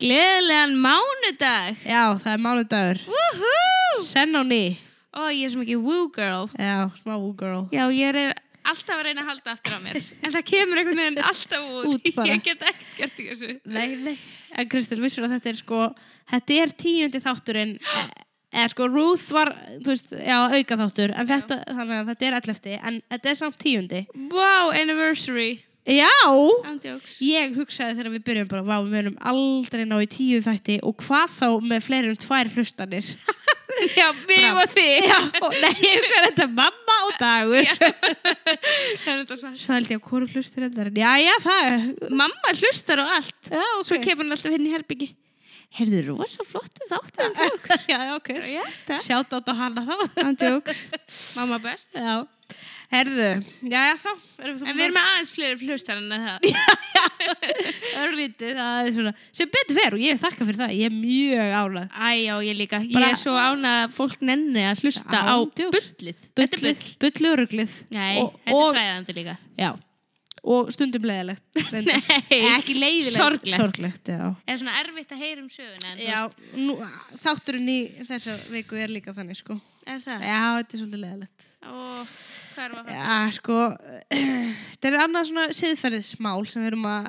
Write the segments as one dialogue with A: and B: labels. A: Gleðilegan mánudag!
B: Já, það er mánudagur.
A: Woohoo!
B: Senn á ný.
A: Ó, ég er svo mikið woo girl.
B: Já, smá girl.
A: Já, ég er alltaf að reyna að halda aftur á mér. En það kemur einhvern veginn alltaf út.
B: Út bara.
A: Ég get ekkert gert í þessu.
B: Nei, nei. En Kristel, vissur að þetta er sko, þetta er tíundi þátturinn, e- eða sko Ruth var, þú veist, já, auka þáttur, en þetta, þannig að þetta er allefti, en þetta er samt tíundi.
A: Wow, anniversary.
B: Já!
A: Andjóks.
B: Ég hugsaði þegar við byrjum bara, vá, við munum aldrei ná í tíu þætti og hvað þá með fleiri en tvær hlustanir.
A: Já, mig
B: Bra.
A: og þig.
B: já, og, nei, ég hugsaði þetta mamma og dagur.
A: Það er um þetta sann.
B: Svo held ég að hvora hlustur þetta er, já, já, það,
A: Mamma hlustar á allt.
B: já, ok.
A: Svo kemur hann alltaf hérna í herbyggi. Heyrðu, rosa flottu þáttur um hljók.
B: já, já, ok.
A: Já, takk.
B: Sjátt átt á hana þá.
A: Andjóks. Mamma best.
B: já. Herðu, já, já, þá. Erum
A: En við erum með aðeins fleiri hlustar en það.
B: örlítið, það er svona, sem betur fer og ég þakka fyrir það, ég er mjög álað.
A: Æ, já, ég líka.
B: Bara-
A: ég er svo ánað að fólk nenni að hlusta á
B: Ándjóks.
A: bullið. Þetta er bull.
B: Bulluruglið.
A: Nei,
B: Og-
A: þetta
B: og-
A: er fræðandi líka.
B: Já. Og stundum leiðilegt. Nei.
A: Nei,
B: Ekki leiðilegt.
A: Sorglegt.
B: Sorglegt, já.
A: er svona erfitt að heyra um söguna. En, þú
B: Já,
A: veist,
B: nú, þátturinn í þessa viku er líka þannig, sko.
A: Er það?
B: Já, þetta er svolítið leiðilegt.
A: Ó, hvað er það?
B: Já, sko, þetta er annað svona siðferðismál sem við erum að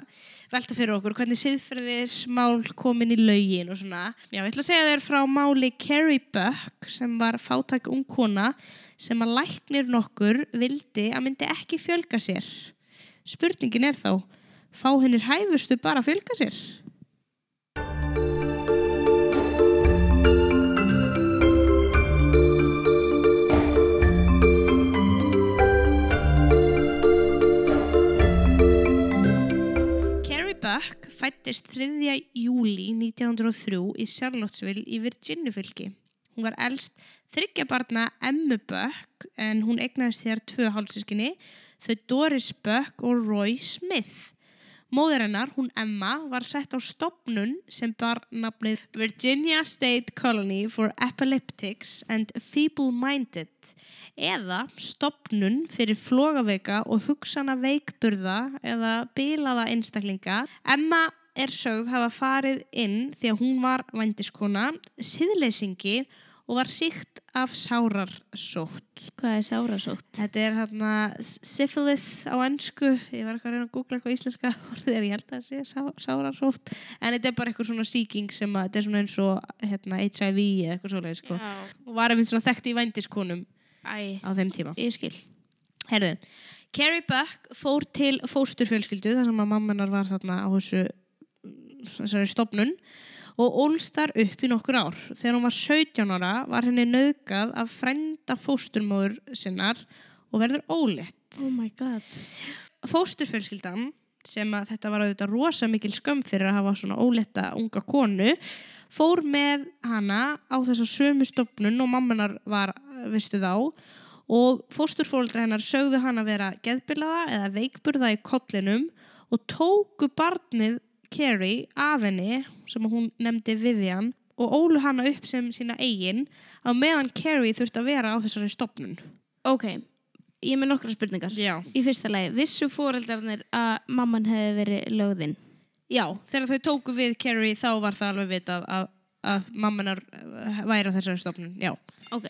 B: velta fyrir okkur, hvernig siðferðismál komin í laugin og svona. Já, ég ætla að segja þér frá máli Carrie Buck sem var fátæk ung kona sem að læknir nokkur vildi að myndi ekki fjölga sér. Spurningin er þá, fá hennir hæfustu bara að fjölga sér? Carrie Buck fættist 3. júli 1903 í Charlottesville í Virginia-fylki. Hún var elst þryggja barna Emmu Buck en hún egnaðist þér tvö hálsískinni, þau Doris Buck og Roy Smith. Móður hennar, hún Emma, var sett á stopnun sem bar nafnið Virginia State Colony for Epileptics and Feeble-Minded eða stopnun fyrir flogaveika og hugsana veikburða eða bilaða einstaklinga. Emma er sögð hafa farið inn því að hún var vændiskona, síðleysingi og var síkt af sárarsótt.
A: Hvað er sárasótt?
B: Þetta er hérna syphilis á ennsku, ég var eitthvað að reyna að googla eitthvað íslenska orðið er ég held að sé sá, sárarsótt, en þetta er bara eitthvað svona sýking sem að, þetta er svona eins og hérna, HIV eða eitthvað svoleið sko.
A: Já.
B: og var einmitt svona þekkt í vændiskonum
A: Æ,
B: á þeim tíma.
A: ég skil.
B: Herðu, Carrie Buck fór til fósturfjölskyldu þar sem að mammanar var þarna á þessu þessari stopnun og ólstar upp í nokkur ár. Þegar hún var 17 ára var henni nöðgað af frenda fósturmóður sinnar og verður ólétt.
A: Oh my god.
B: Fósturfjölskyldan sem að þetta var auðvitað rosa mikil skömm fyrir að hafa svona óletta unga konu fór með hana á þessa sömu stopnun og mammanar var vistu þá og fósturfóreldra hennar sögðu hana vera geðbilaða eða veikburða í kollinum og tóku barnið Carrie af henni sem hún nefndi Vivian og ólu hana upp sem sína eigin á meðan Carrie þurfti að vera á þessari stopnun.
A: Ok, ég er með nokkra spurningar.
B: Já.
A: Í fyrsta lagi, vissu fóreldarnir að mamman hefði verið lögðinn?
B: Já, þegar þau tóku við Carrie þá var það alveg vitað að, að mammanar eh, væri á þessari stofnun, já.
A: Ok.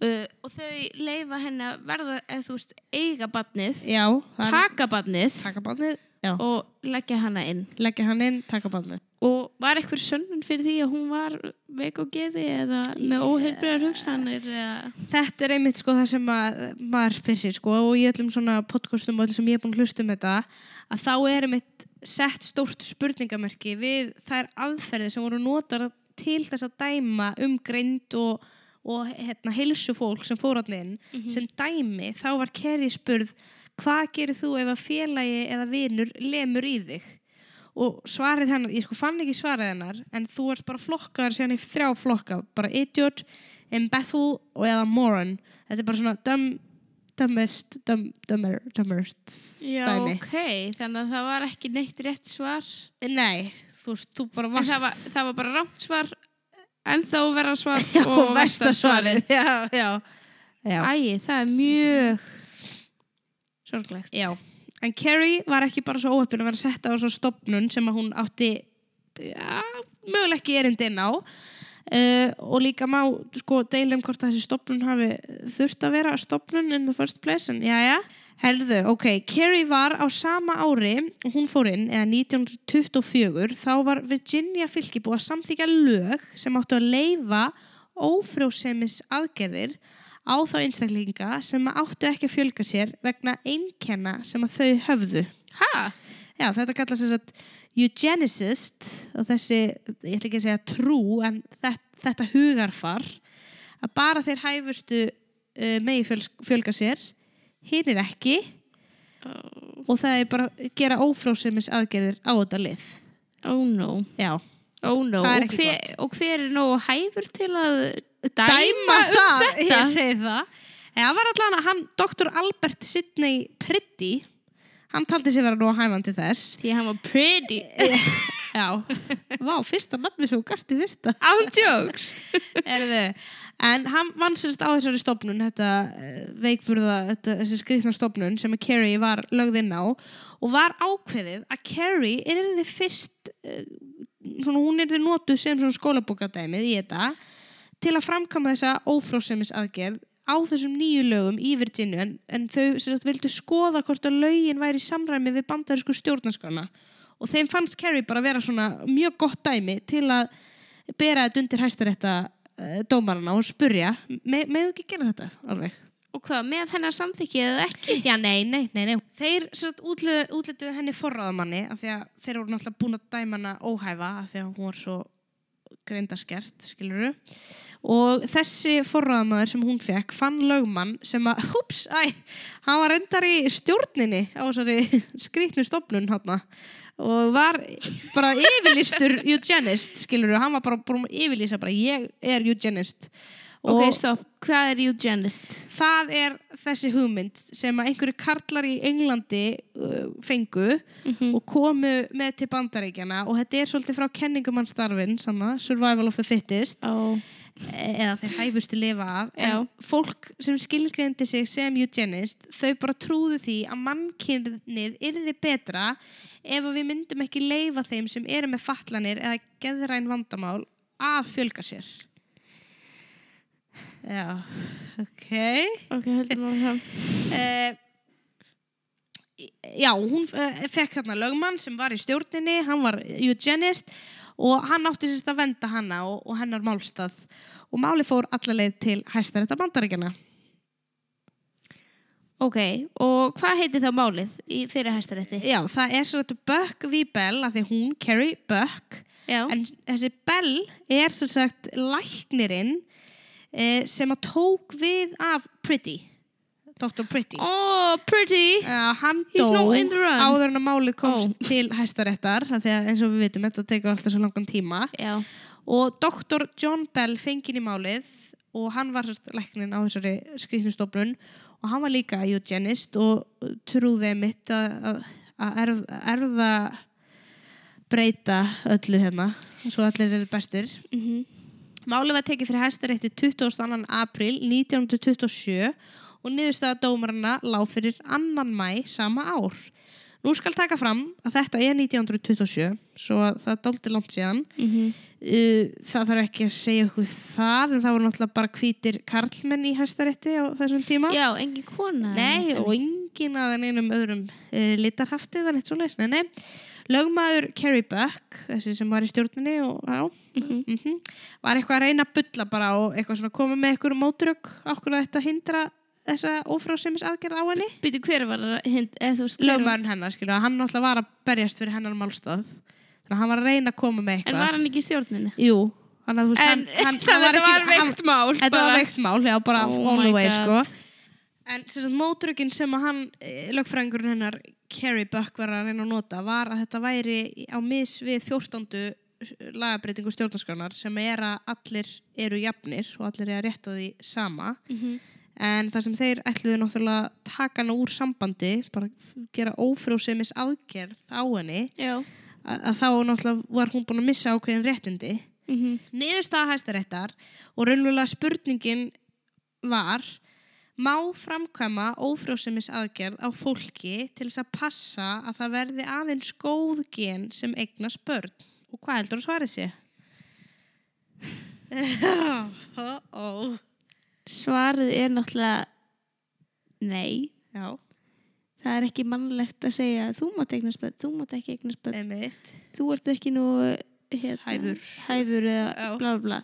A: Uh, og þau leifa henni að verða, eða þú veist, eiga badnið,
B: Já, það er
A: taka badnið
B: taka barnið, já.
A: og leggja hana inn.
B: Leggja hann inn, taka barnið.
A: Og var eitthvað sönnun fyrir því að hún var veik á geði eða með óheilbriðar hugsanir eða...
B: Þetta er einmitt sko það sem að maður spyr sér sko og í öllum svona podcastum og öll sem ég er búin að hlusta um þetta að þá er einmitt sett stórt spurningamerki við þær aðferði sem voru notar til þess að dæma um greind og, og hérna, heilsu fólk sem fór hann inn sem dæmi þá var Kerry spurð hvað gerir þú ef að félagi eða vinur lemur í þig? og svarið hennar, ég sko fann ekki svarið hennar en þú ert bara flokkaður síðan í þrjá flokka bara idiot, imbecile og eða moron þetta er bara svona dumb, dumbest, dumb, dumber, dumberst
A: Já,
B: dæmi
A: ok, þannig að það var ekki neitt rétt svar.
B: nei, þú veist, þú bara
A: En
B: varst
A: það var, það var bara rámt svar, en þá verða svar
B: og versta svarið já, já, já.
A: Æi, það er mjög sorglegt.
B: Já, en Carrie var ekki bara svo óöppin að vera sett á svo stopnun sem að hún átti ja, möguleg ekki erindi inn á uh, og líka má sko deilum hvort að þessi stopnun hafi þurft að vera stopnun in the first place en jæja, herðu, ok Carrie var á sama ári og hún fór inn, eða 1924 þá var Virginia fylki búið að samþykja lög sem áttu að leifa ófrjósemis aðgerðir á þá einstaklinga sem áttu ekki að fjölga sér vegna einkenna sem að þau höfðu
A: Hæ?
B: Já, þetta kallast þess að eugenicist og þessi, ég ætla ekki að segja trú, en þetta, þetta hugarfar að bara þeir hæfustu uh, megi fjöls- fjölga sér, hinn er ekki og það er bara að gera ófrósemis aðgerðir á þetta lið.
A: Oh no.
B: Já.
A: Oh no.
B: Það er
A: Og
B: ekki
A: hver,
B: gott.
A: og hver er nógu hæfur til að dæma, um
B: það,
A: þetta?
B: ég segi það. En það var allan að hann, doktor Albert Sidney Priddy, hann taldi sér vera nú að hæfandi þess.
A: Því hann var pretty.
B: Já. Vá, fyrsta nafni sem hún gasti fyrsta.
A: Ándjóks.
B: Erðu, en hann vann sérst á þessari stofnun, þetta eh, veikburða, þetta, þessi skrifna stofnun sem að Carrie var lögð inn á og var ákveðið að Carrie er þið fyrst, eh, svona hún er þið notuð sem svona skólabókadæmið í þetta til að framkama þessa ófrósemis aðgerð á þessum nýju lögum í Virginia en, en þau sérst vildu skoða hvort að lögin væri í samræmi við bandarísku stjórnarskrána og þeim fannst Carrie bara vera svona mjög gott dæmi til að bera þetta undir hæstarétta uh, dómarana og spurja me, meðu ekki gera þetta alveg
A: Og hvað, með hennar samþykki eða ekki?
B: já, nei, nei, nei, nei þeir útlutu henni forráðamanni af því að þeir voru náttúrulega búin að dæma hana óhæfa af því að hún var svo greindaskert, skiluru og þessi forráðamaður sem hún fekk fann lögmann sem að, húps, æ hann var endar í stjórninni á þessari skrýtnu stofnun hann og var bara yfirlýstur eugenist, skiluru, hann var bara búin að yfirlýsa bara, ég er eugenist
A: Ok, stopp. Hvað er eugenist?
B: það er þessi hugmynd sem að einhverju karlar í Englandi uh, fengu og komu með til bandaríkjana og þetta er svolítið frá kenningumannstarfin sanna, survival of the fittest
A: Ó.
B: e- eða þeir hæfustu lifa af en
A: Já.
B: fólk sem skilgreyndi sig sem eugenist, þau bara trúðu því að mannkynnið yrði betra ef að við myndum ekki leifa þeim sem eru með fatlanir eða geðræn vandamál að fjölga sér Já, ok
A: Ok, heldur maður fram.
B: Eh, já, hún uh, fekk hérna lögmann sem var í stjórninni, hann var eugenist og hann átti sérst að venda hanna og, og hennar málstað og máli fór alla leið til hæstarétta bandaríkjana.
A: Ok, og hvað heitir þá málið í, fyrir hæstarétti?
B: Já, það er sérst Bökk við Bell, að því hún, Carrie Bökk,
A: Já.
B: en þessi Bell er sérst læknirinn eh, sem að tók við af Pretty, Dr. Pretty.
A: Oh, pretty.
B: Uh, hann
A: He's
B: dó
A: not in the run.
B: áður en að málið komst til hæstaréttar af því að eins og við vitum, þetta tekur alltaf svo langan tíma
A: Já.
B: og doktor John Bell fengið í málið og hann var sérst læknin á þessari skrýtnustofnun og hann var líka eugenist og trúði mitt að að erf, erða breyta öllu hérna svo allir eru bestur Málið var tekið fyrir hæstarétti 22. april 1927 og niðurstaða dómarana lág fyrir 2. mæ sama ár. Nú skal taka fram að þetta er 1927, svo að það er dálítið langt síðan.
A: mhm.
B: Uh, Það þarf ekki að segja ykkur það, en það voru náttúrulega bara hvítir karlmenn í hæstarétti á þessum tíma.
A: Já, engin kona.
B: Nei, og enginn af þenn einum öðrum uh, litarhaftið, þannig svo leys, nei, nei. Lögmaður Carrie Buck, þessi sem var í stjórninni og já, mm
A: Mhm.
B: var eitthvað að reyna að bulla bara og eitthvað svona koma með eitthvað mótrök, okkur að þetta hindra þessa ófrásemis aðgerð á henni.
A: Býtu, hver var að hind, eða þú veist, hver var-
B: Lögmaðurinn hennar, skilja, hann náttúrulega var að berjast fyrir hennar málstað. Þannig að hann var að reyna að koma með
A: En
B: eitthvað.
A: var hann ekki í stjórninni?
B: Jú, þannig að þú veist, hann, hann, hann var ekki... hann-
A: mál.
B: Þetta var veikt mál, já, bara
A: Oh
B: all the
A: my
B: way,
A: God.
B: sko. En sem sagt, mótrökin sem að hann, eh, lögfræðingurinn hennar, Carrie Buck var að reyna að nota, var að þetta væri á mis við 14. lagabreitingu stjórnarskránar sem er að allir eru jafnir og allir eru að rétta því sama.
A: Mhm.
B: En það sem þeir ætluðu náttúrulega að taka hana úr sambandi, bara gera ófrjósemis aðgerð á henni,
A: Já.
B: að, að þá náttúrulega var hún búin að missa ákveðin réttindi
A: Mhm.
B: niðurstaða hæstaréttar og raunverulega spurningin var má framkvæma ófrjósemis aðgerð á fólki til þess að passa að það verði aðeins góð gen sem eignast börn og Og hvað heldur að svarið sé? Ó, ó,
A: Svarið er náttúrulega nei.
B: já,
A: Það er ekki mannlegt að segja þú mátt eignast börn, þú mátt ekki eignast börn,
B: einmitt.
A: þú ert ekki nú hérna,
B: Hæfur.
A: hæfur eða
B: Já.
A: bla bla bla.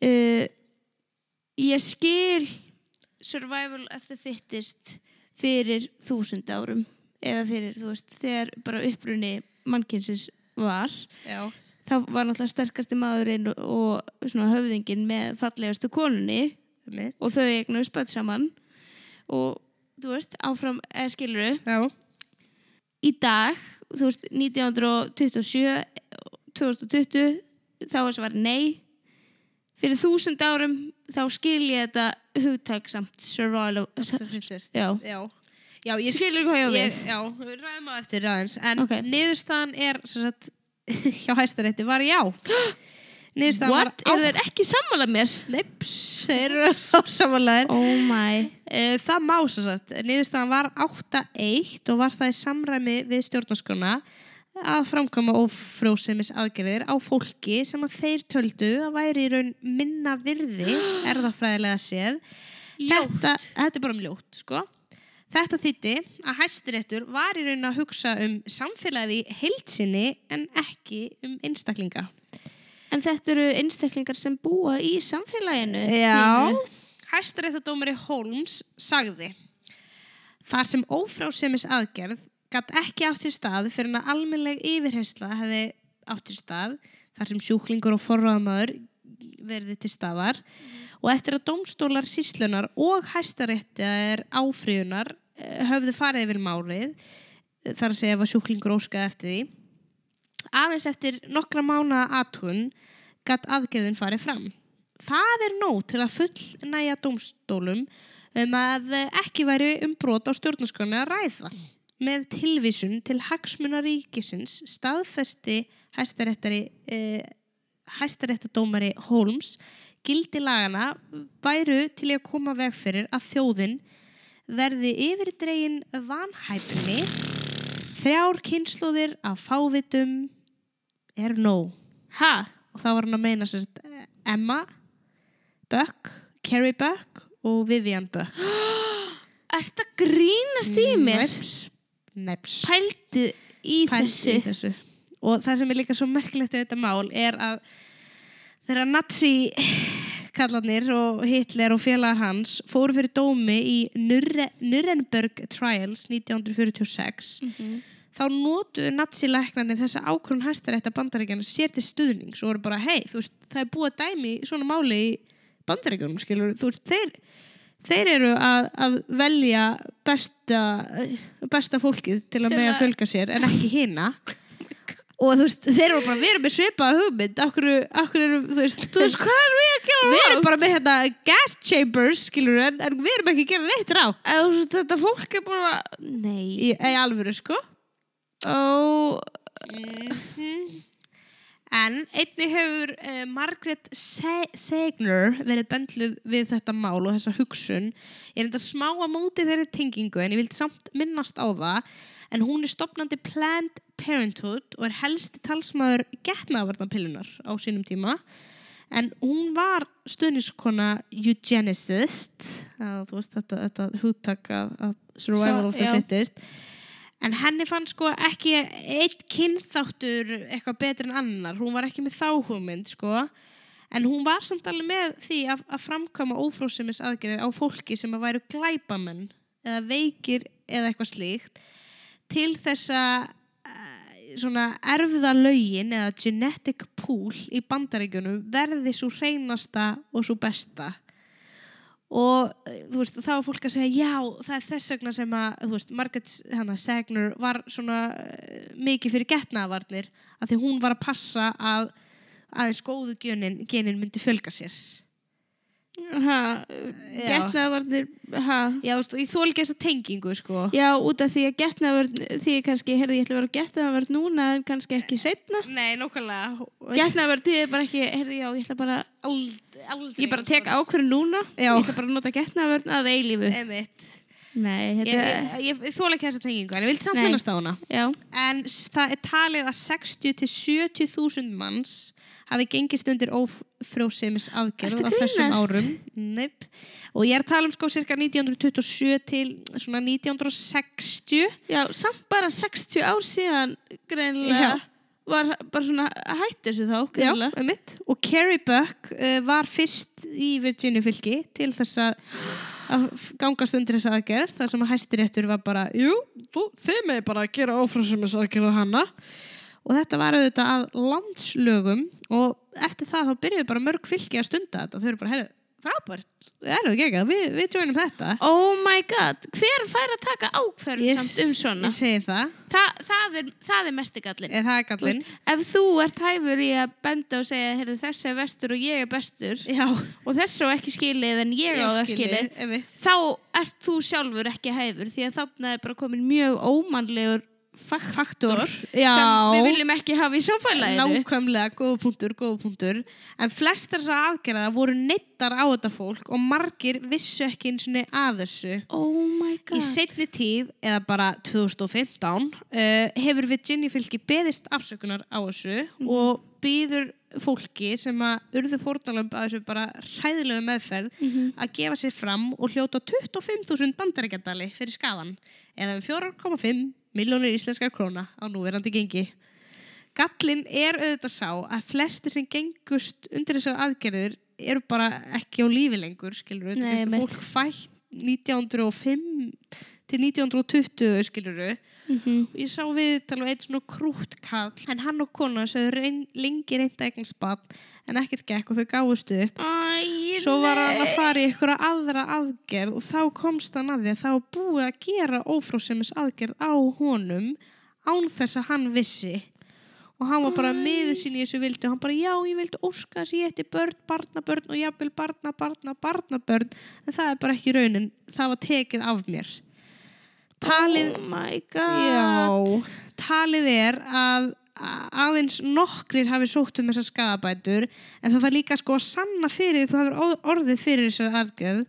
A: Uh, ég skil survival of the fittest fyrir þúsund árum eða fyrir, þú veist, þegar bara upprunni mannkynsins var
B: Já,
A: þá var náttúrulega sterkasti maðurinn og, og svona höfðingin með fallegastu konunni
B: einmitt.
A: og þau eignuðu spött saman og þú veist, áfram eða skiluru
B: Já,
A: í dag, þú veist, 1927 2020, þá var svar nei fyrir þúsund árum þá skil ég þetta hugtak samt survival
B: það finnst.
A: já,
B: Já, já, ég
A: ég skilur hvað ég á
B: Ég,
A: við
B: já, við ræðum að eftir aðeins en
A: Ok.
B: niðurstaðan er sem sagt, hjá hæstarétti var já niðurstaðan
A: what,
B: var
A: eru þeir ekki sammála mér?
B: neips, þeir eru sásamanlegar
A: oh my
B: e, það má sem sagt, niðurstaðan var 8-1 og var það í samræmi við stjórnarskona að framkoma ófrjósemis aðgerðir á fólki sem að þeir töldu að væri í raun minna virði erðafræðilega séð þetta, þetta er bara um ljótt sko. þetta þýtti að hæstiréttur var í raun að hugsa um samfélagi heilsinni en ekki um einstaklinga
A: en þetta eru einstaklingar sem búa í samfélaginu þínu.
B: hæstaréttadómari Holmes sagði þar sem ófrásemis aðgerð gatt ekki átt sér stað fyrir en að almennleg yfirheysla hefði átt sér stað þar sem sjúklingur og forraðamaður verði til staðar og eftir að dómstólar síslunar og hæstaréttar áfríunar eh, höfðu farið yfir málið eh, þar að segja ef að sjúklingur óskaði eftir því aðeins eftir nokkra mánuða aðtun gatt aðgerðin farið fram. Það er nóg til að fullnæja dómstólum um að ekki væri um brot á stjórnarskráni að ræða. Með tilvísun til hagsmuna ríkisins staðfesti hæstaréttari eh, hæstaréttadómari Holmes gildi lagana væru til í að koma veg fyrir að þjóðin verði yfirdregin vanhæfni þrjár kynnslóðir af fávitum er nóg
A: ha,
B: og þá var hann að meina sérst Emma Buck, Carrie Buck og Vivian Buck
A: ert að grínast í mér?
B: Neps, neps
A: pældi í
B: Pældi
A: þessu
B: Mm, í þessu og það sem er líka svo merkilegt við þetta mál er að þeirra nazi kallanir og Hitler og félagar hans fóru fyrir dómi í Nürre, Nürnberg Trials 1946
A: Mhm.
B: þá notuðu nazilæknarnir þessa ákvörun hæstarétta bandaríkjana sér til stuðnings og voru bara, hei, þú veist, það er búið að dæmi í svona máli í bandaríkjunum, skilur, þú veist, þeir, þeir eru að, að velja besta, besta fólkið til að
A: Til
B: mega
A: að-
B: fjölga sér en ekki hina. Og þú veist, þeir eru bara, við erum með svipaða hugmynd, okkur, okkur eru, þú veist, þú veist, hvað erum við að gera Við erum bara með hérna gas chambers, skilur, en, en við erum ekki að gera neitt rátt.
A: Eða þú veist, þetta fólk er bara Nei
B: Í, í alvöru, sko.
A: Ó,
B: Mhm. En einni hefur uh, Margaret Se- Segner verið bendluð við þetta mál og þessa hugsun. Ég er enda smá að móti þeirri tengingu en ég vildi samt minnast á það. En hún er stopnandi Planned Parenthood og er helsti talsmaður getnaverðanpillunar á sínum tíma. En hún var stöðniskona eugenicist, að, þú veist þetta, þetta hugtak að, að survival
A: Svo-
B: of the
A: já.
B: fittest. En henni fann sko ekki eitt kynþáttur eitthvað betur en annar. Hún var ekki með þá hugmynd sko. En hún var samt alveg með því að, að framkama ófrósemis aðgerðir á fólki sem að væru glæpamenn eða veikir eða eitthvað slíkt til þessa eh, svona erfðalögin eða genetic pool í bandaríkjunum verði svo hreinasta og svo besta og eh, þú veist, þá var fólk að segja já, það er þess vegna sem að þú veist, Margaret hana, Segner var svona eh, mikið fyrir getnaðvarnir að því hún var að passa að aðeins góðu genin, genin myndi fjölga sér
A: ha,
B: Já.
A: getnaðvarnir, ha
B: já, þú veist, og ég þól ekki þessa tengingu sko.
A: Já, út af því að getnaðvörn, því ég kannski, heyrði, ég ætla að vera getnaðvörn núna en kannski ekki setna.
B: nei, nokkulega
A: Getnaðvörn, því er bara ekki, heyrði, já, ég ætla bara,
B: aldrei
A: ég bara tek ákvörðu núna,
B: Já.
A: ég ætla bara að nota getnaðvörn að eilífu.
B: Einmitt.
A: Nei,
B: Ég,
A: þetta
B: ég, ég, ég þóla ekki þessa tengingu, en ég vildi samt
A: Nei.
B: minnast á hana.
A: Já,
B: En s- það er talið að 60-70.000 manns hafi gengist undir ófrjósemis
A: Ertu
B: aðgerð á
A: að
B: þessum
A: grínast?
B: árum. Neip. Og ég er að tala um sko cirka 1927 til svona 1960.
A: já, samt bara 60 ár síðan greinlega
B: Já.
A: var bara svona að hætti þessu þá
B: Já,
A: greinlega.
B: um Og Carrie Buck uh, var fyrst í Virginia fylki til þess að að f- gangast undir þessa aðgerð þar sem að hæstiréttur var bara jú, þú, þið með bara að gera áfrásumis aðgerð á hana og þetta var auðvitað að landslögum og eftir það þá byrjuðu bara mörg fylki að stunda þetta þau eru bara, heyrðu, frábært, erum við gegga við, við tjóinum þetta
A: Oh my god, hver fær að taka ákverðum samt um svona?
B: ég segi það,
A: Þa, það, er, það er mestigallin.
B: eða það er gallin
A: Ef þú ert hæfur í að benda og segja, heyrðu, þessi er vestur og ég er bestur
B: já,
A: og þessi á ekki skilið en ég, á það skilið,
B: skilið
A: þá ert þú sjálfur ekki hæfur því að þarna er bara komin mjög ómannlegur faktor,
B: faktor,
A: sem
B: já.
A: við viljum ekki hafa í samfélaginu.
B: Nákvæmlega, góða punktur, góða punktur En flestar þessar aðgerða voru neittar á þetta fólk og margir vissu ekki eins og að þessu
A: Oh my god.
B: Í setni tíð, eða bara 2015, uh, hefur Virginia fylki beðist afsökunar á þessu og býður fólki sem að urðu fórnalömb að þessu bara hræðilegu meðferð að gefa sér fram og hljóta 25.000 bandarækjadali fyrir skaðan eða um 4,5 milljónir íslenskar króna á núverandi gengi. Gallin er auðvitað sá að flesti sem gengust undir þessar aðgerður eru bara ekki á lífi lengur, skilur við,
A: Nei,
B: þetta er
A: einmitt.
B: fólk fætt 1905 til 1920 skiluru
A: Mhm.
B: og ég sá við tala um eitt svona krúttkall en hann og kona sem reyn, lengi reynda eignarsbann en ekkert gekk og þau gáðust upp
A: Æ,
B: svo var hann
A: nei.
B: að fara í einhverja aðra aðgerð og þá komst hann að því að þá var búið að gera ófrósemis aðgerð á honum án þess að hann vissi og hann var bara miður sín í þessu vildi og hann bara já ég vildi óska þess að ég ætti börn, barnabörn og jafnvel barna, barna, barnabörn en það er bara ekki raunin það var tekið af mér talið
A: Oh my god.
B: Já, talið er að að- aðeins nokkrir hafi sótt um þessar skadabætur en það þarf líka sko að sanna fyrir því þú hefur or- orðið fyrir þessar aðgerð,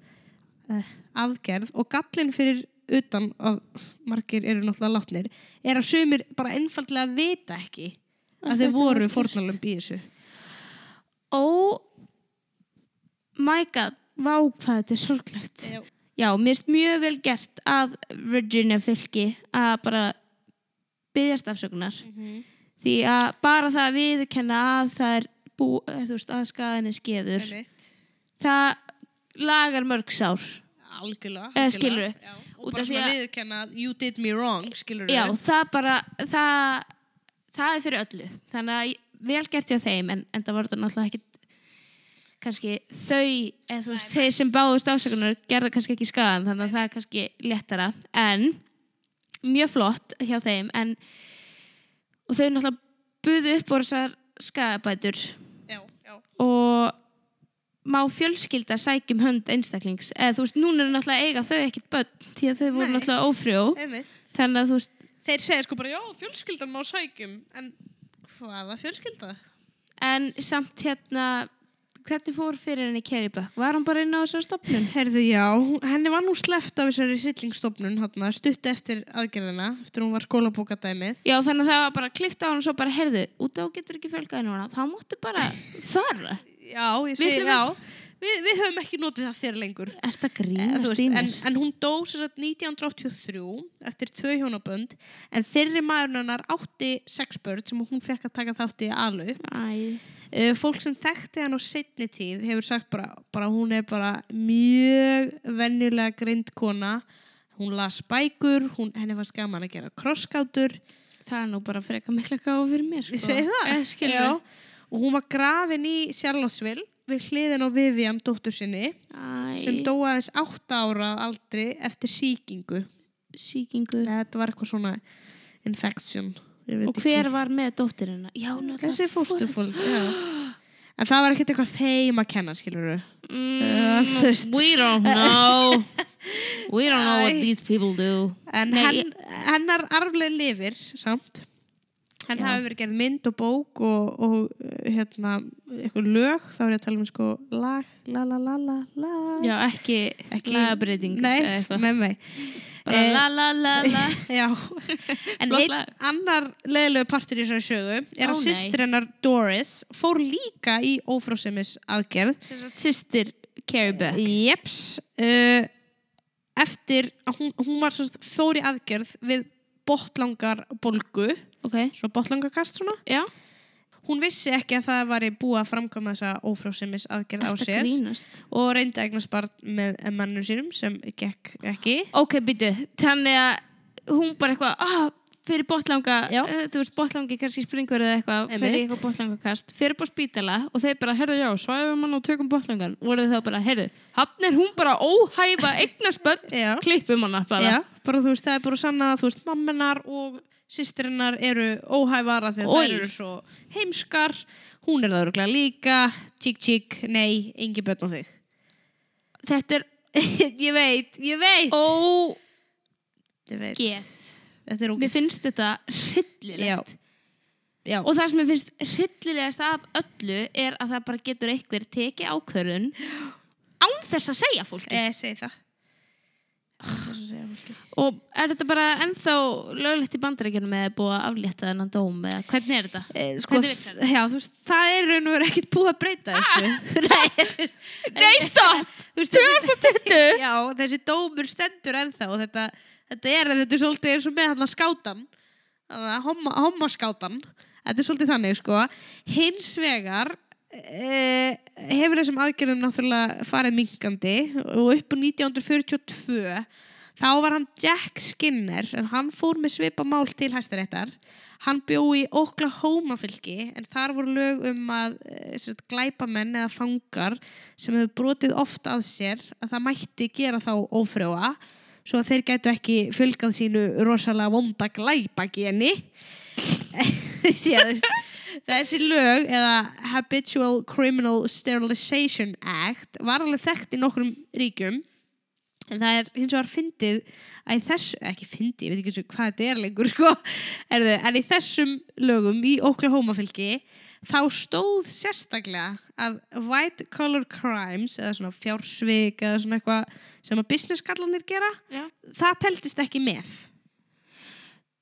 B: eh, aðgerð og gallin fyrir utan að margir eru náttúrulega látnir er að sumir bara einfaldlega vita ekki
A: Að
B: að þeir
A: þetta
B: voru
A: var gert.
B: fórnalömb í þessu
A: Oh my god. Vá, hvað þetta er sorglegt.
B: Já.
A: Já, mér erst mjög vel gert að Virginia fylki að bara byggjast afsökunar því að bara það að viðkenna að það er bú, eða þú veist, að skaðan er skeður það lagar mörg sár
B: Algjörlega,
A: Eða skilurðu?
B: Já,
A: Út
B: og bara
A: af því
B: svona
A: að-
B: viðurkenna að you did me wrong skilur
A: Já, það bara það, það er fyrir öllu þannig að ég- vel gert hjá þeim en, en það var þetta náttúrulega ekkit kannski þau eða þú veist, þeir sem báðust ásökunar gerðu kannski ekki skaðan þannig að það er kannski léttara en mjög flott hjá þeim en og þau náttúrulega buðu upp úr þessar skaðabætur
B: já, já.
A: og má fjölskylda sækjum hönd einstaklings eða þú veist, núna er náttúrulega eiga þau ekkit börn því að þau voru
B: Nei.
A: náttúrulega ófrjó
B: Einmitt.
A: þannig að þú veist
B: Þeir segja sko bara, já, fjölskyldan má sækjum, en hvaða fjölskylda?
A: En samt hérna, hvernig fór fyrir henni Kerry Buck? Var hann bara inn á þessar stopnum?
B: Herðu, já, henni var nú sleppt af þessari hryllingsstofnun, hann stutt eftir aðgerðina, eftir hún var skólabókadæmið.
A: Já, þannig að það var bara klift á hann og svo bara herðu, út á getur ekki fjölgaði núna, þá máttu bara fara.
B: Já, ég
A: segi já.
B: Við, við höfum ekki notið það þér lengur.
A: Er þetta
B: Eh, þú
A: grínast
B: veist,
A: í
B: en,
A: mér?
B: en hún dó sér að 1983 eftir tvö hjónabönd, en þeirri maðurinn hennar átti sex börn sem hún fekk að taka þátt í alu.
A: Æ,
B: Uh, fólk sem þekkti hann á setni tíð hefur sagt bara, bara hún er bara mjög venjulega grind kona hún las bækur hún, henni var skaman að gera krosskátur
A: það er nú bara freka mikla gáfa fyrir mér, sko.
B: ég segi það
A: Eh, skilur
B: Já.
A: við.
B: og hún var grafin í Charlottesville við hliðin á Vivian dóttur sinni
A: Æ,
B: sem dó aðeins 8 ára að aldri eftir sýkingu
A: Sýkingu.
B: Eða þetta var eitthvað svona infection Ég veit
A: Og
B: ekki.
A: hver var með dóttirina? Já, náttúrulega.
B: þessi fóstufólk já. en það var ekkert eitthvað þeim að kenna skilur við
A: Mm,
B: þú veist.
A: we don't know. We don't know what
B: Æ.
A: these people do.
B: En
A: Nei,
B: henn, hennar arfleg lifir samt En
A: Já.
B: hafi verið gerð mynd og bók og, og uh, hérna, eitthvað lög, þá er ég að tala um sko lag, la la la la la.
A: Já, ekki,
B: Ekki-
A: ekki lagabreiting
B: Nei,
A: eða eitthvað.
B: nei, nei.
A: Bara
B: Eh,
A: la la la la
B: Já, en
A: Flott
B: einn
A: lag.
B: annar leðilegu partur í þessari sögu er
A: Ó, nei.
B: að systir hennar Doris fór líka í ófrósemis aðgerð.
A: Sýstir Carrie Beck
B: Jeps, uh, eftir að hún, hún var svo fór í aðgerð við botlangar bólgu,
A: Ok,
B: svo botlangarkast svona.
A: já
B: Hún vissi ekki að það var búið að framkvæma þessa ófrósemis aðgerð á
A: Ertu að
B: sér
A: grínast.
B: og reyndi að eignast barn með mannum sínum sem gekk ekki.
A: Ok, býtu, þannig að hún bara eitthvað ah, fyrir botlanga,
B: Já.
A: uh, þú veist botlangi kannski springur eða eitthvað,
B: Einmitt.
A: fyrir eitthvað botlangakast fyrir bara spítala og þeir bara, herðu já svæðum hann og tökum botlangan, voru þau þá bara herðu, hann er hún bara óhæfa eignarspöld,
B: Já.
A: klippum hana bara
B: Já, bara þú veist, það er bara sanna að þú veist, mammenar og systrinnar eru óhæfara þegar
A: Oj.
B: þær eru svo heimskar, hún er það öruglega líka, tík tík, nei, engin börn á þig.
A: þetta er
B: ég veit, ég veit.
A: ó,
B: ég veit.
A: Geð.
B: Þetta er
A: mér
B: ógeð.
A: finnst þetta hryllilegt
B: Já,
A: og það sem mér finnst hryllilegast af öllu er að það bara getur einhver tekið ákvörðun án þess að segja fólki
B: eh, segi það. Það er svo að segja fólki.
A: Og er þetta bara ennþá löglegt í bandaríkjunum eða er búið að aflétta þennan dóm eða hvernig er þetta?
B: sko,
A: Hvernig virkar
B: já, þú veist, það er raun og verið ekkert búið að breyta þessu. Nei, þú veist,
A: Nei, stopp!
B: Þú veist, 2020 Já, þessi dómur stendur ennþá og þetta, þetta er, þetta er svolítið eins og með hann að skátan homma, hommaskátan þetta er svolítið þannig sko hins vegar eh, hefur þessum aðgerðum náttúrulega farið minkandi og upp úr 1942 þá var hann Jack Skinner en hann fór með svipa mál til hæstaréttar hann bjó í Oklahoma fylki en þar voru lög um að eh, sem sagt, glæpamenn eða fangar sem hefur brotið oft að sér að það mætti gera þá ófrjóa svo að þeir gætu ekki fjölgað sínu rosalega vonda glæpageni Sé, þú veist, þessi lög eða Habitual Criminal Sterilization Act var alveg þekkt í nokkrum ríkjum En það er hins vegar fyndið að í þessu, ekki fyndið, ég veit ekki eins og hvað þetta er lengur, sko, erðu, en í þessum lögum í Oklahoma fylki þá stóð sérstaklega að white collar crimes eða svona fjársvik eða svona eitthvað sem að business kallanir gera,
A: Já.
B: það teltist ekki með.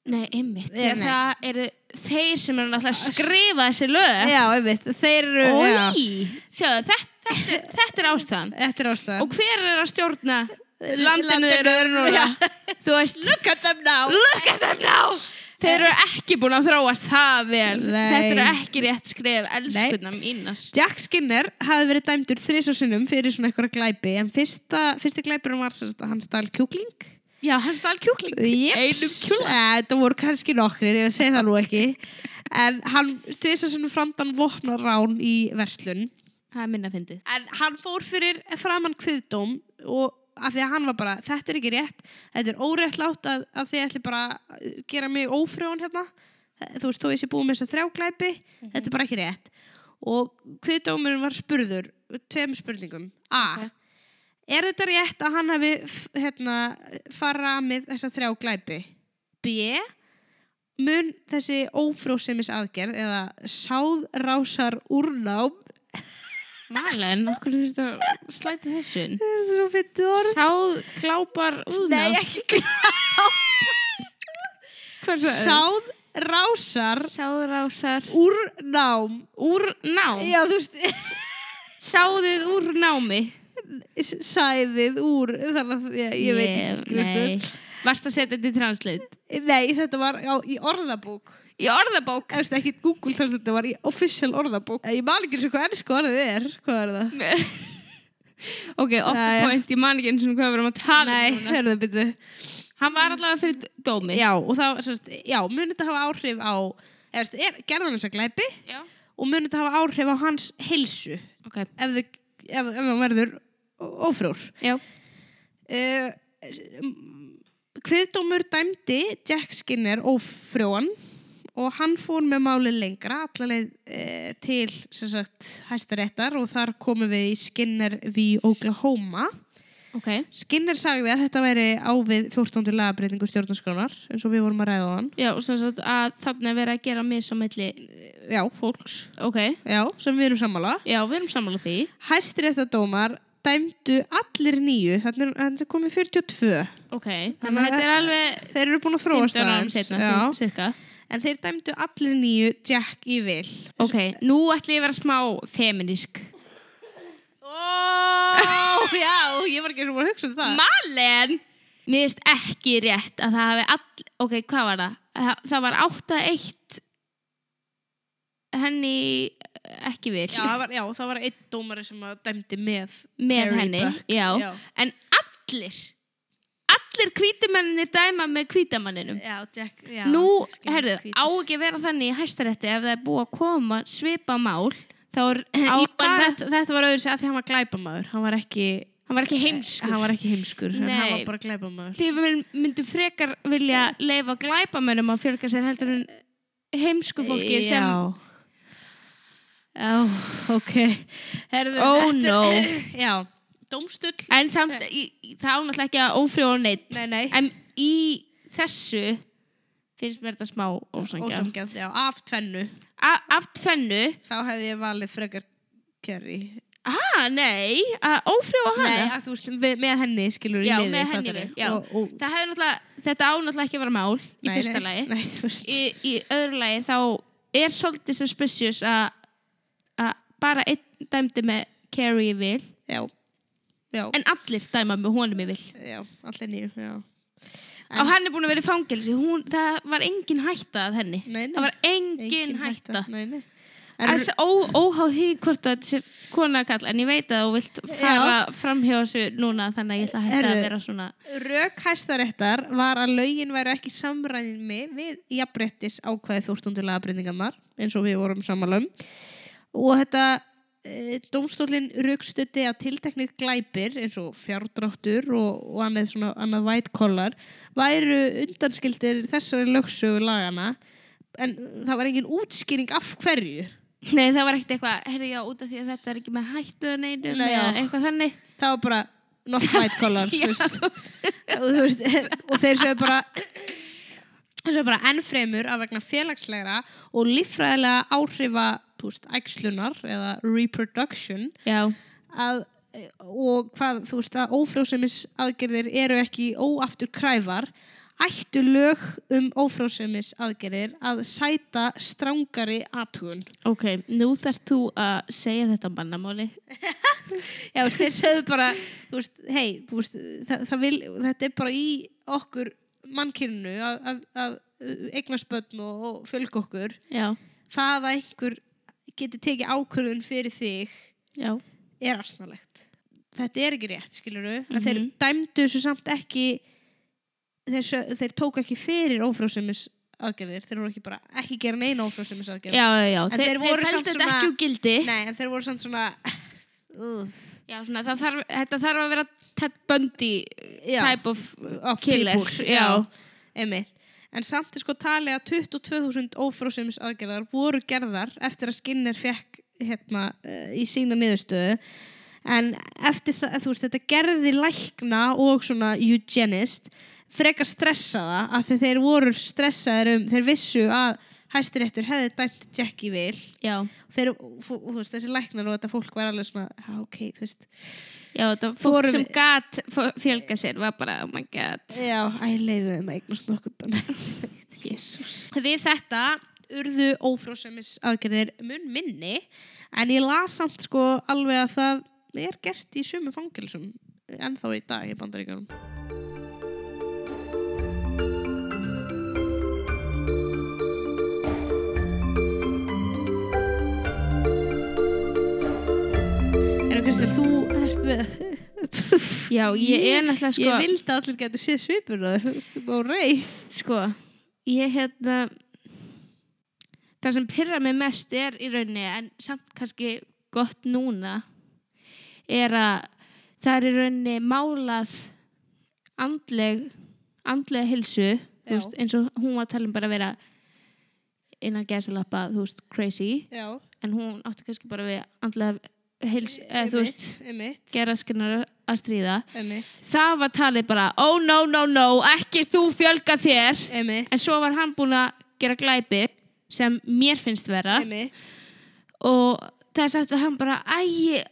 A: Nei, einmitt. Já,
B: Já, Eh, nei.
A: það eru þeir sem eru náttúrulega að skrifa þessi lög.
B: Já, ég veit, þeir Eh, eru, já,
A: Ói! Sjáðu, þetta, þetta, er- þetta er ástæðan.
B: þetta er ástæðan.
A: Og hver er að stjórna landinu
B: Eh. Landinu
A: þeir eru
B: þeirra
A: núna?
B: núna.
A: Þú veist,
B: Look at them now!
A: look at them now! Þeir eru ekki búin að þróast það vel.
B: Nei.
A: Þetta eru ekki rétt skrif, elskuna mínar.
B: Jack Skinner hafði verið dæmdur þrís og sinnum fyrir svona eitthvað glæpi en fyrsta, fyrsti glæpurinn var sem sagt að hann stál kjúkling
A: Já, hans það er kjúkling. Einum
B: Jeps.
A: kjúkling.
B: Eh, Þetta voru kannski nokkrir, ég segi það nú ekki En hann stuðis að svona framdann vopnar rán í verslun
A: Það er minna fyndið.
B: En hann fór fyrir framann kviðdóm og af því að hann var bara, þetta er ekki rétt þetta er óréttlátt að, að þið ætli bara að gera mig ófrjón hérna Eh, þú veist, þó ég sé búið með þess að þrjáglæpi þetta er bara ekki rétt og kviðdómurinn var spurður tveim spurningum A.
A: Ok.
B: Er þetta rétt að hann hafi f- hérna, fara með þessa þrjá glæpi? B. Mun þessi ófrósemis aðgerð eða sáðrásar úrnám
A: Malen, okkur þurftu að slæta þessu inn.
B: Það er svo fyndið orð
A: Sáð glápar úrnám.
B: Nei, ekki glá
A: Hvað svo?
B: Sáð rásar
A: Sáðrásar
B: úrnám
A: úr nám.
B: Já, þú veist
A: Sáðið úr námi.
B: Sæðið úr Þannig að ég, ég veit ekki
A: Nei.
B: veistu.
A: Varst að setja þetta í translate?
B: nei, þetta var á, í orðabók
A: Í orðabók.
B: Ég veist ekki Google þannig þetta var í official orðabók Ég man ekki eins og hvað ennsku orðið er Hvað er það?
A: ok, off the
B: Nei.
A: point, ég man ekki eins og hvað við erum að tala um
B: Nei,
A: núna.
B: hörðu, byrju
A: Hann var allavega fyrir dómi.
B: Já, og þá, sérst, já, mun þetta hafa áhrif á eða, sérst, er, Gerðan þess að glæpi
A: Já.
B: Og mun þetta hafa áhrif á hans heilsu
A: Ok.
B: ef, þau, ef, ef hann verður ó- ófrjór.
A: Já.
B: Uh, Kviðdómur dæmdi Jack Skinner ófrjóan og hann fór með máli lengra allaveg uh, til sem sagt, hæstaréttar og þar komum við í Skinner v. Oklahoma
A: Ok.
B: Skinner sagði að þetta væri ávið 14. lagabreitingu stjórnarskránar eins og við vorum að ræða á hann.
A: Já, sem sagt að þarna er verið að gera mér svo melli.
B: Já, fólks.
A: Ok.
B: Já, sem við erum sammála.
A: Já, við erum sammála því.
B: Hæstiréttadómar dæmdu allir nýju, þannig að þetta komið 42.
A: Ok.
B: Þannig
A: Þannig
B: að
A: að þetta er alveg
B: Þeir eru búin að
A: 15
B: þróast
A: árum
B: aðeins.
A: setna,
B: Já.
A: sem- cirka.
B: En þeir dæmdu allir nýju Jack í vil.
A: Ok, nú ætlum ég að vera smá feminísk.
B: Ó, já, ég var ekki eins og bara að hugsa um það.
A: Malen! Mér finnst ekki rétt að það hafi all... Ok, hvað var það? Það, það var 8-1 henni ekki vil.
B: já, það var, já, það var einn dómari sem að dæmdi með,
A: með
B: Carrie
A: henni.
B: Buck.
A: Já.
B: Já.
A: En allir, allir hvítumennir dæma með hvítamanninum.
B: Já, Jack, já.
A: Nú,
B: Jack Skinner,
A: herðu,
B: hvítur.
A: á ekki að vera þannig í hæstarétti ef það er búið að koma svipa mál, þá er...
B: Á,
A: í
B: en
A: bara-
B: þetta, þetta var auðvitað að því hann var glæpamaður. Hann var ekki,
A: Hann var ekki heimskur.
B: hann var ekki heimskur, en hann
A: Nei.
B: var bara glæpamaður.
A: Því við myndum frekar vilja leifa glæpamönnum að fjölga sér heldur en heimsku fólki sem
B: Já. Já, ok. Herðu,
A: Oh,
B: þetta-
A: no.
B: já, dómstull.
A: en samt, í, í- það án alltaf ekki að ófrjóða neitt
B: Nei, nei.
A: en í þessu finnst mér þetta smá ósangja
B: Ósamgjast, já, af tvennu.
A: af tvennu
B: Þá hefði ég valið frekar Kerry.
A: ha, nei, að ófrjóða hana
B: Nei, að þú veist, við, með henni skilur í
A: já,
B: liði.
A: með henni
B: fattarðu?
A: við já.
B: Og, og,
A: það hefði náttúrulega, þetta án alltaf ekki að vera mál í
B: nei,
A: fyrsta
B: nei,
A: lagi
B: Nei, þú veist.
A: í, í öðru lagi þá er svolítið suspicious að að bara einn dæmdi með Carrie vil
B: Já. Já.
A: en allir dæma með honum í vil
B: já, allir nýju, já. En-
A: og hann er búin að vera í fangelsi hún, það var engin hætta að henni
B: Nei, nei.
A: það var engin, hætta, hætta.
B: Nei, nei. En,
A: En, ó, óháð því hvort að þetta er kona að kalla en ég veit að þú vilt fara framhjá þessu núna þannig að ég ætla að hætta
B: Heyrðu.
A: að vera svona
B: Rök hæstaréttar var að lögin væru ekki samræmi við jafnbrettis ákvæði 14. lagabreytingarnar eins og við vorum samalum og þetta e, dómstólinn rökstutti að tilteknir glæpir eins og fjárdráttur og, og annað, svona, annað white collar væru undanskildir þessari lögsögu lagana en það var engin útskýring af hverju
A: Nei, það var ekkert eitthvað, herðu já, út af því að þetta er ekki með hættu að neinum
B: Nei, já.
A: eða eitthvað þannig
B: það var bara not white collar þú
A: Já.
B: veist. og, þú veist, og þeir séu bara þeir séu bara ennfremur að vegna félagslegra og líffræðilega áhrifa þú veist, æxlunar eða reproduction
A: Já,
B: að og hvað, þú veist, að ófrjósemis aðgerðir eru ekki óaftur kræfar ættu lög um ófrjósemis aðgerðir að sæta strangari athugun
A: Ok, nú þarf þú að segja þetta mannamáli.
B: Já, þú veist, þeir segðu bara, þú veist, hei, þú veist, það, það vil, þetta er bara í okkur mannkynnu að, að, að eignast börn og, og fjölga okkur.
A: Já,
B: Það að einhver geti tekið ákvörðun fyrir þig
A: já.
B: er arsnalegt. Þetta er ekki rétt, skilur við. Þeir dæmdu þessu samt ekki, þeir, sö- þeir tók ekki fyrir ófrjósemis aðgerðir. Þeir voru ekki bara, ekki gera neina ófrjósemis
A: Já,
B: aðgerðir.
A: já, já.
B: En þeir voru
A: felldu
B: samt
A: þetta
B: svona-
A: ekki úr gildi.
B: Nei, en þeir voru samt svona, úð.
A: Já, svona, það þarf, þetta þarf að vera Ted Bundy
B: Já.
A: type of
B: of
A: killer.
B: people
A: Já.
B: einmitt en samt er sko talið að 22.000 ófrósumis aðgerðar voru gerðar eftir að Skinner fekk hérna eh, í sína niðurstöðu en eftir það, þú veist, þetta gerði lækna og svona eugenist frekar stressaða af því þeir voru stressaðir um, þeir vissu að hæstiréttur hefði dæmt Jackie vil
A: Já,
B: þeir, og, þú þú veist, þessi læknar og þetta fólk var alveg svona, "Ah, ok, þú veist
A: já, þetta fólk
B: Þorum-
A: sem gat fó- fjölga sér var bara, oh my god.
B: já, æ, leiðu þeim að eignast nokkuð bara
A: Jesus.
B: Við þetta urðu ófrósumis aðgerðir mun minni en ég las samt sko alveg að það er gert í sumu fangilsum ennþá í dag í bandaríkjum. Erum Kristel, þú ert með
A: Já, ég er náttúrulega sko...
B: Ég vildi að allir getur séð svipur á þér, þú veist, þú er reyð
A: Sko, ég hérna... Það sem pyrra mig mest er í rauninni, en samt kannski gott núna, er að það er í rauninni málað andleg, andlega hilsu,
B: Já.
A: þú veist, eins og hún var að tala um bara að vera innan gæsalappa, þú veist, crazy,
B: Já,
A: en hún átti kannski bara við andlega hilsu, eða þú veist,
B: einmitt
A: gera skinnar að stríða
B: Emitt.
A: það var talið bara, oh no, no, no ekki þú fjölga þér
B: Emitt.
A: en svo var hann búin að gera glæpi sem mér finnst vera
B: Emitt.
A: og það er sagt við hann bara æ,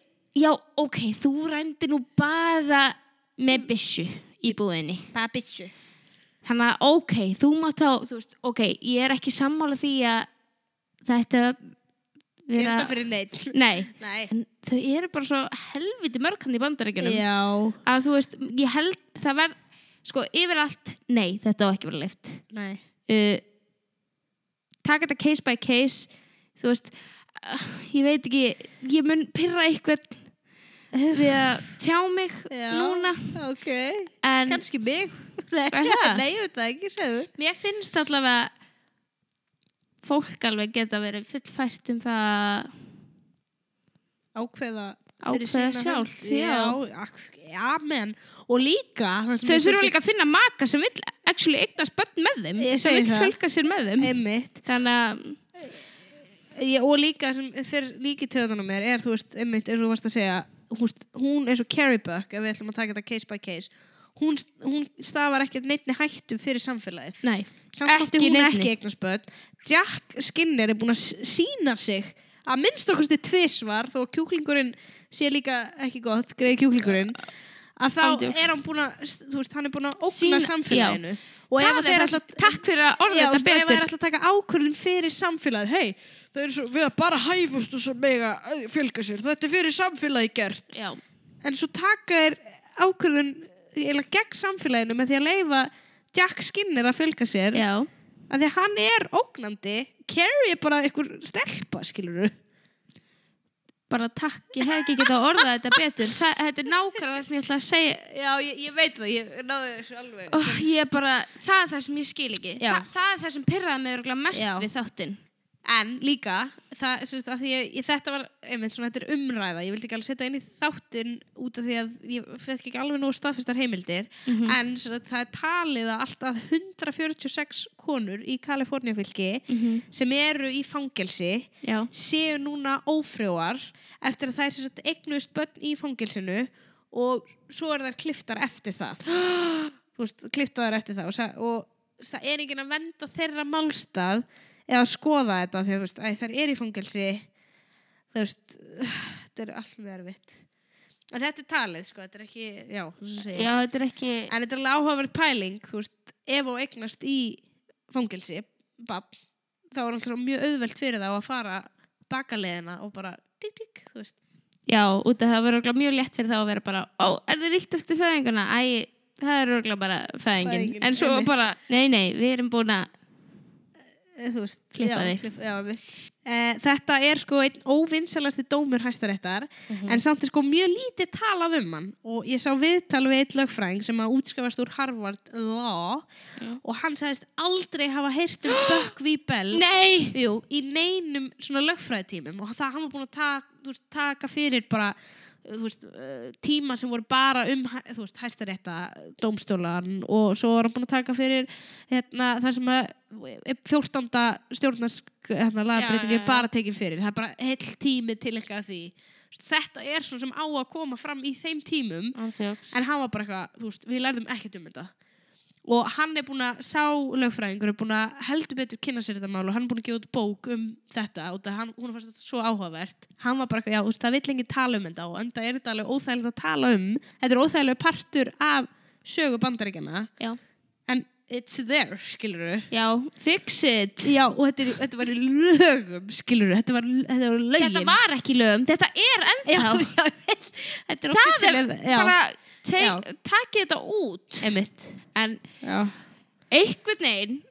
A: já, ok, þú rændi nú bara með byssu í búðinni
B: Bara bitchu.
A: þannig að ok, þú mátt þá þú veist, ok, ég er ekki sammála því að þetta
B: Er þetta fyrir neitt?
A: nei,
B: Nei.
A: en þau eru bara svo helviti mörg hann í bandaríkjunum
B: Já.
A: að þú veist, ég held það verð, sko, yfirallt nei, þetta á ekki verið leift
B: Nei.
A: uh, taka þetta case by case þú veist uh, ég veit ekki, ég mun pyrra eitthvað við að tjá mig
B: Já.
A: núna
B: Ok.
A: en
B: Kanski mig. Nei,
A: Er það?
B: nei, ég veit það ekki, segðu.
A: mér finnst allavega fólk alveg geta verið fullfært um það að
B: Ákveða.
A: fyrir sína hönd.
B: Já. Já, amen. Og líka.
A: þau þurfa líka að finna maka sem vill actually eignast börn með þeim
B: Ég
A: sem
B: segi
A: vill
B: það.
A: fjölga sér með þeim
B: Emitt.
A: þannig að
B: Ég, og líka sem fyrir líki töðunum mér er, þú veist, einmitt, eins og þú varst að segja þú veist, hún eins og Carrie Buck ef við ætlum að taka þetta case by case hún, hún stafar ekkert neittni hættu fyrir samfélagið
A: nei,
B: samt átti
A: Ekki
B: hún
A: neinni.
B: ekki eignarspöld Jack Skinner er búin að sína sig að minnst okkusti tvisvar þó að kjúklingurinn sé líka ekki gott, greið kjúklingurinn að þá
A: Ándjóks.
B: er hann búin að þú veist, hann er búin að ógna
A: Sýna-
B: samfélaginu og
A: það
B: ef
A: er
B: að þeir
A: það
B: ætla
A: sem takk fyrir að orða
B: Já,
A: þetta
B: ef það er
A: betur
B: alltaf að taka ákvörðun fyrir samfélagið hei, það eru svo, við að bara hæfustu sem mega eh, fjölga sér þetta er fyrir samfélagið gert
A: já,
B: en svo taka þér ákvörðun eiginlega gegn samfélaginu með því að leifa Jack Skinner að fjölga sér
A: já
B: að því að hann er ógnandi Carrie er bara einhver stelpa, skilur
A: bara takk, ég hef ekki getað orðað þetta betur Þa, þetta er nákvæmlega það sem ég ætla að segja
B: Já, ég, ég veit það, ég náði þessu alveg
A: oh, ég er bara, það er það sem ég skil ekki
B: Já.
A: Þa, það er það sem pyrraði mig örugglega mest
B: Já.
A: við þáttinn
B: En líka, það, sérst, að því ég, ég, þetta var, einmitt, svona, þetta er umræða, ég vildi ekki alveg setja inn í þáttinn út af því að ég fekk ekki alveg nógu staðfestar heimildir, en sérst, það er talið að alltaf 146 konur í Kaliforniafylki sem eru í fangelsi
A: já,
B: séu núna ófrjóar eftir að þær sérst, eignust börn í fangelsinu og svo er þær kliftar eftir það. Þú veist, kliftar þær eftir það og, sa- og það er ekki að venda þeirra málstað eða skoða þetta því að þú veist, æ, þær er í fangelsi þú veist, þetta er allt með erfitt. En þetta er talið, sko, þetta er ekki, já, þú segir.
A: já, þetta er ekki
B: En þetta er alveg áhugaverð pæling, þú veist, ef og eignast í fangelsi, bann, þá er alltaf mjög auðvelt fyrir þá að fara bakaleðina og bara tík, tík, þú veist.
A: já, út af það verður örugglega mjög létt fyrir þá að vera bara ó, er þið ríkt eftir fæðinguna? æ, það er örugglega bara fæðingin
B: Fæðingin,
A: en svo
B: einmitt.
A: bara, nei, nei, við erum búin að
B: Eh, Þú veist,
A: Klippa
B: já,
A: þig.
B: klipp- já, einmitt. Eh, þetta er sko einn óvinnsalasti dómur hæstaréttar
A: Mhm.
B: en samt er sko mjög lítið talað um hann og ég sá viðtal við eitt lögfræng sem að útskrifast úr Harvard Law og hann sagðist aldrei hafa heyrt um Buckvey Bell
A: nei,
B: Jú, í neinum svona lögfræðitímum og það hann var búin að taka, veist, taka fyrir bara þú veist, eh, tíma sem voru bara um hæ- þú veist, hæstarétta dómstólan og svo var hann búin að taka fyrir hérna, það sem að eh, 14. stjórnask hérna, lagabreitingi
A: já, já.
B: bara tekin fyrir það er bara heill tími til eitthvað því þetta er svona sem á að koma fram í þeim tímum
A: Ándjóks.
B: en hann var bara eitthvað, þú veist, við lærðum ekkert um þetta og hann er búin að sá lögfræðingur er búin að heldur betur kynna sér þetta mál og hann er búin að gefa út bók um þetta og það, hann, hún fannst þetta svo áhugavert hann var bara eitthvað, já, þú veist, það vill enginn tala um þetta og enda er þetta alveg óþægilegt að tala um þetta er óþægilega partur af sögu bandaríkjana
A: já,
B: en it's there, skilur
A: já, fix it
B: já, og þetta, er, þetta var í lögum, skilur þetta var, þetta var lögin
A: þetta var ekki lögum, þetta er
B: já,
A: ennþá
B: já,
A: það er
B: þetta er officially- já,
A: bara,
B: Já.
A: take- takið þetta út
B: emitt
A: en
B: já
A: einhvern veginn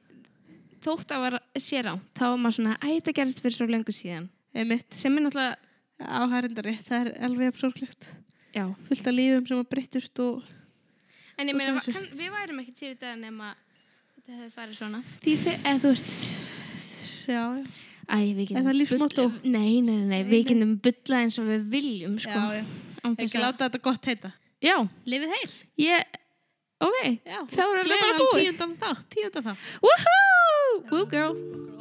A: þótt að var sér á þá var maður svona, æ, þetta gerist fyrir svo lengur síðan
B: Einmitt.
A: sem er náttúrulega
B: Já, það er enda rétt, það er alveg absorglegt.
A: já.
B: Fullt af lífum sem að breyttust og...
A: en ég meina,
B: Út af þessu.
A: kann, við værum ekki til í dag nema þetta hefði farið svona því fyrir, eða þú veist
B: Já, já.
A: æ, við
B: Er
A: getum
B: það lífsmottó?
A: bull- nei, nei, nei,
B: Nei,
A: við
B: nei.
A: getum bulla eins og við viljum sko.
B: Já, já.
A: Án þess
B: Ekki
A: að-
B: láta þetta gott heita.
A: já,
B: Lifið heil.
A: ég, ok
B: Já.
A: þá erum við bara
B: Gleðilegan
A: búið
B: Tíundan þátt, tíundan þátt.
A: woohoo, woo girl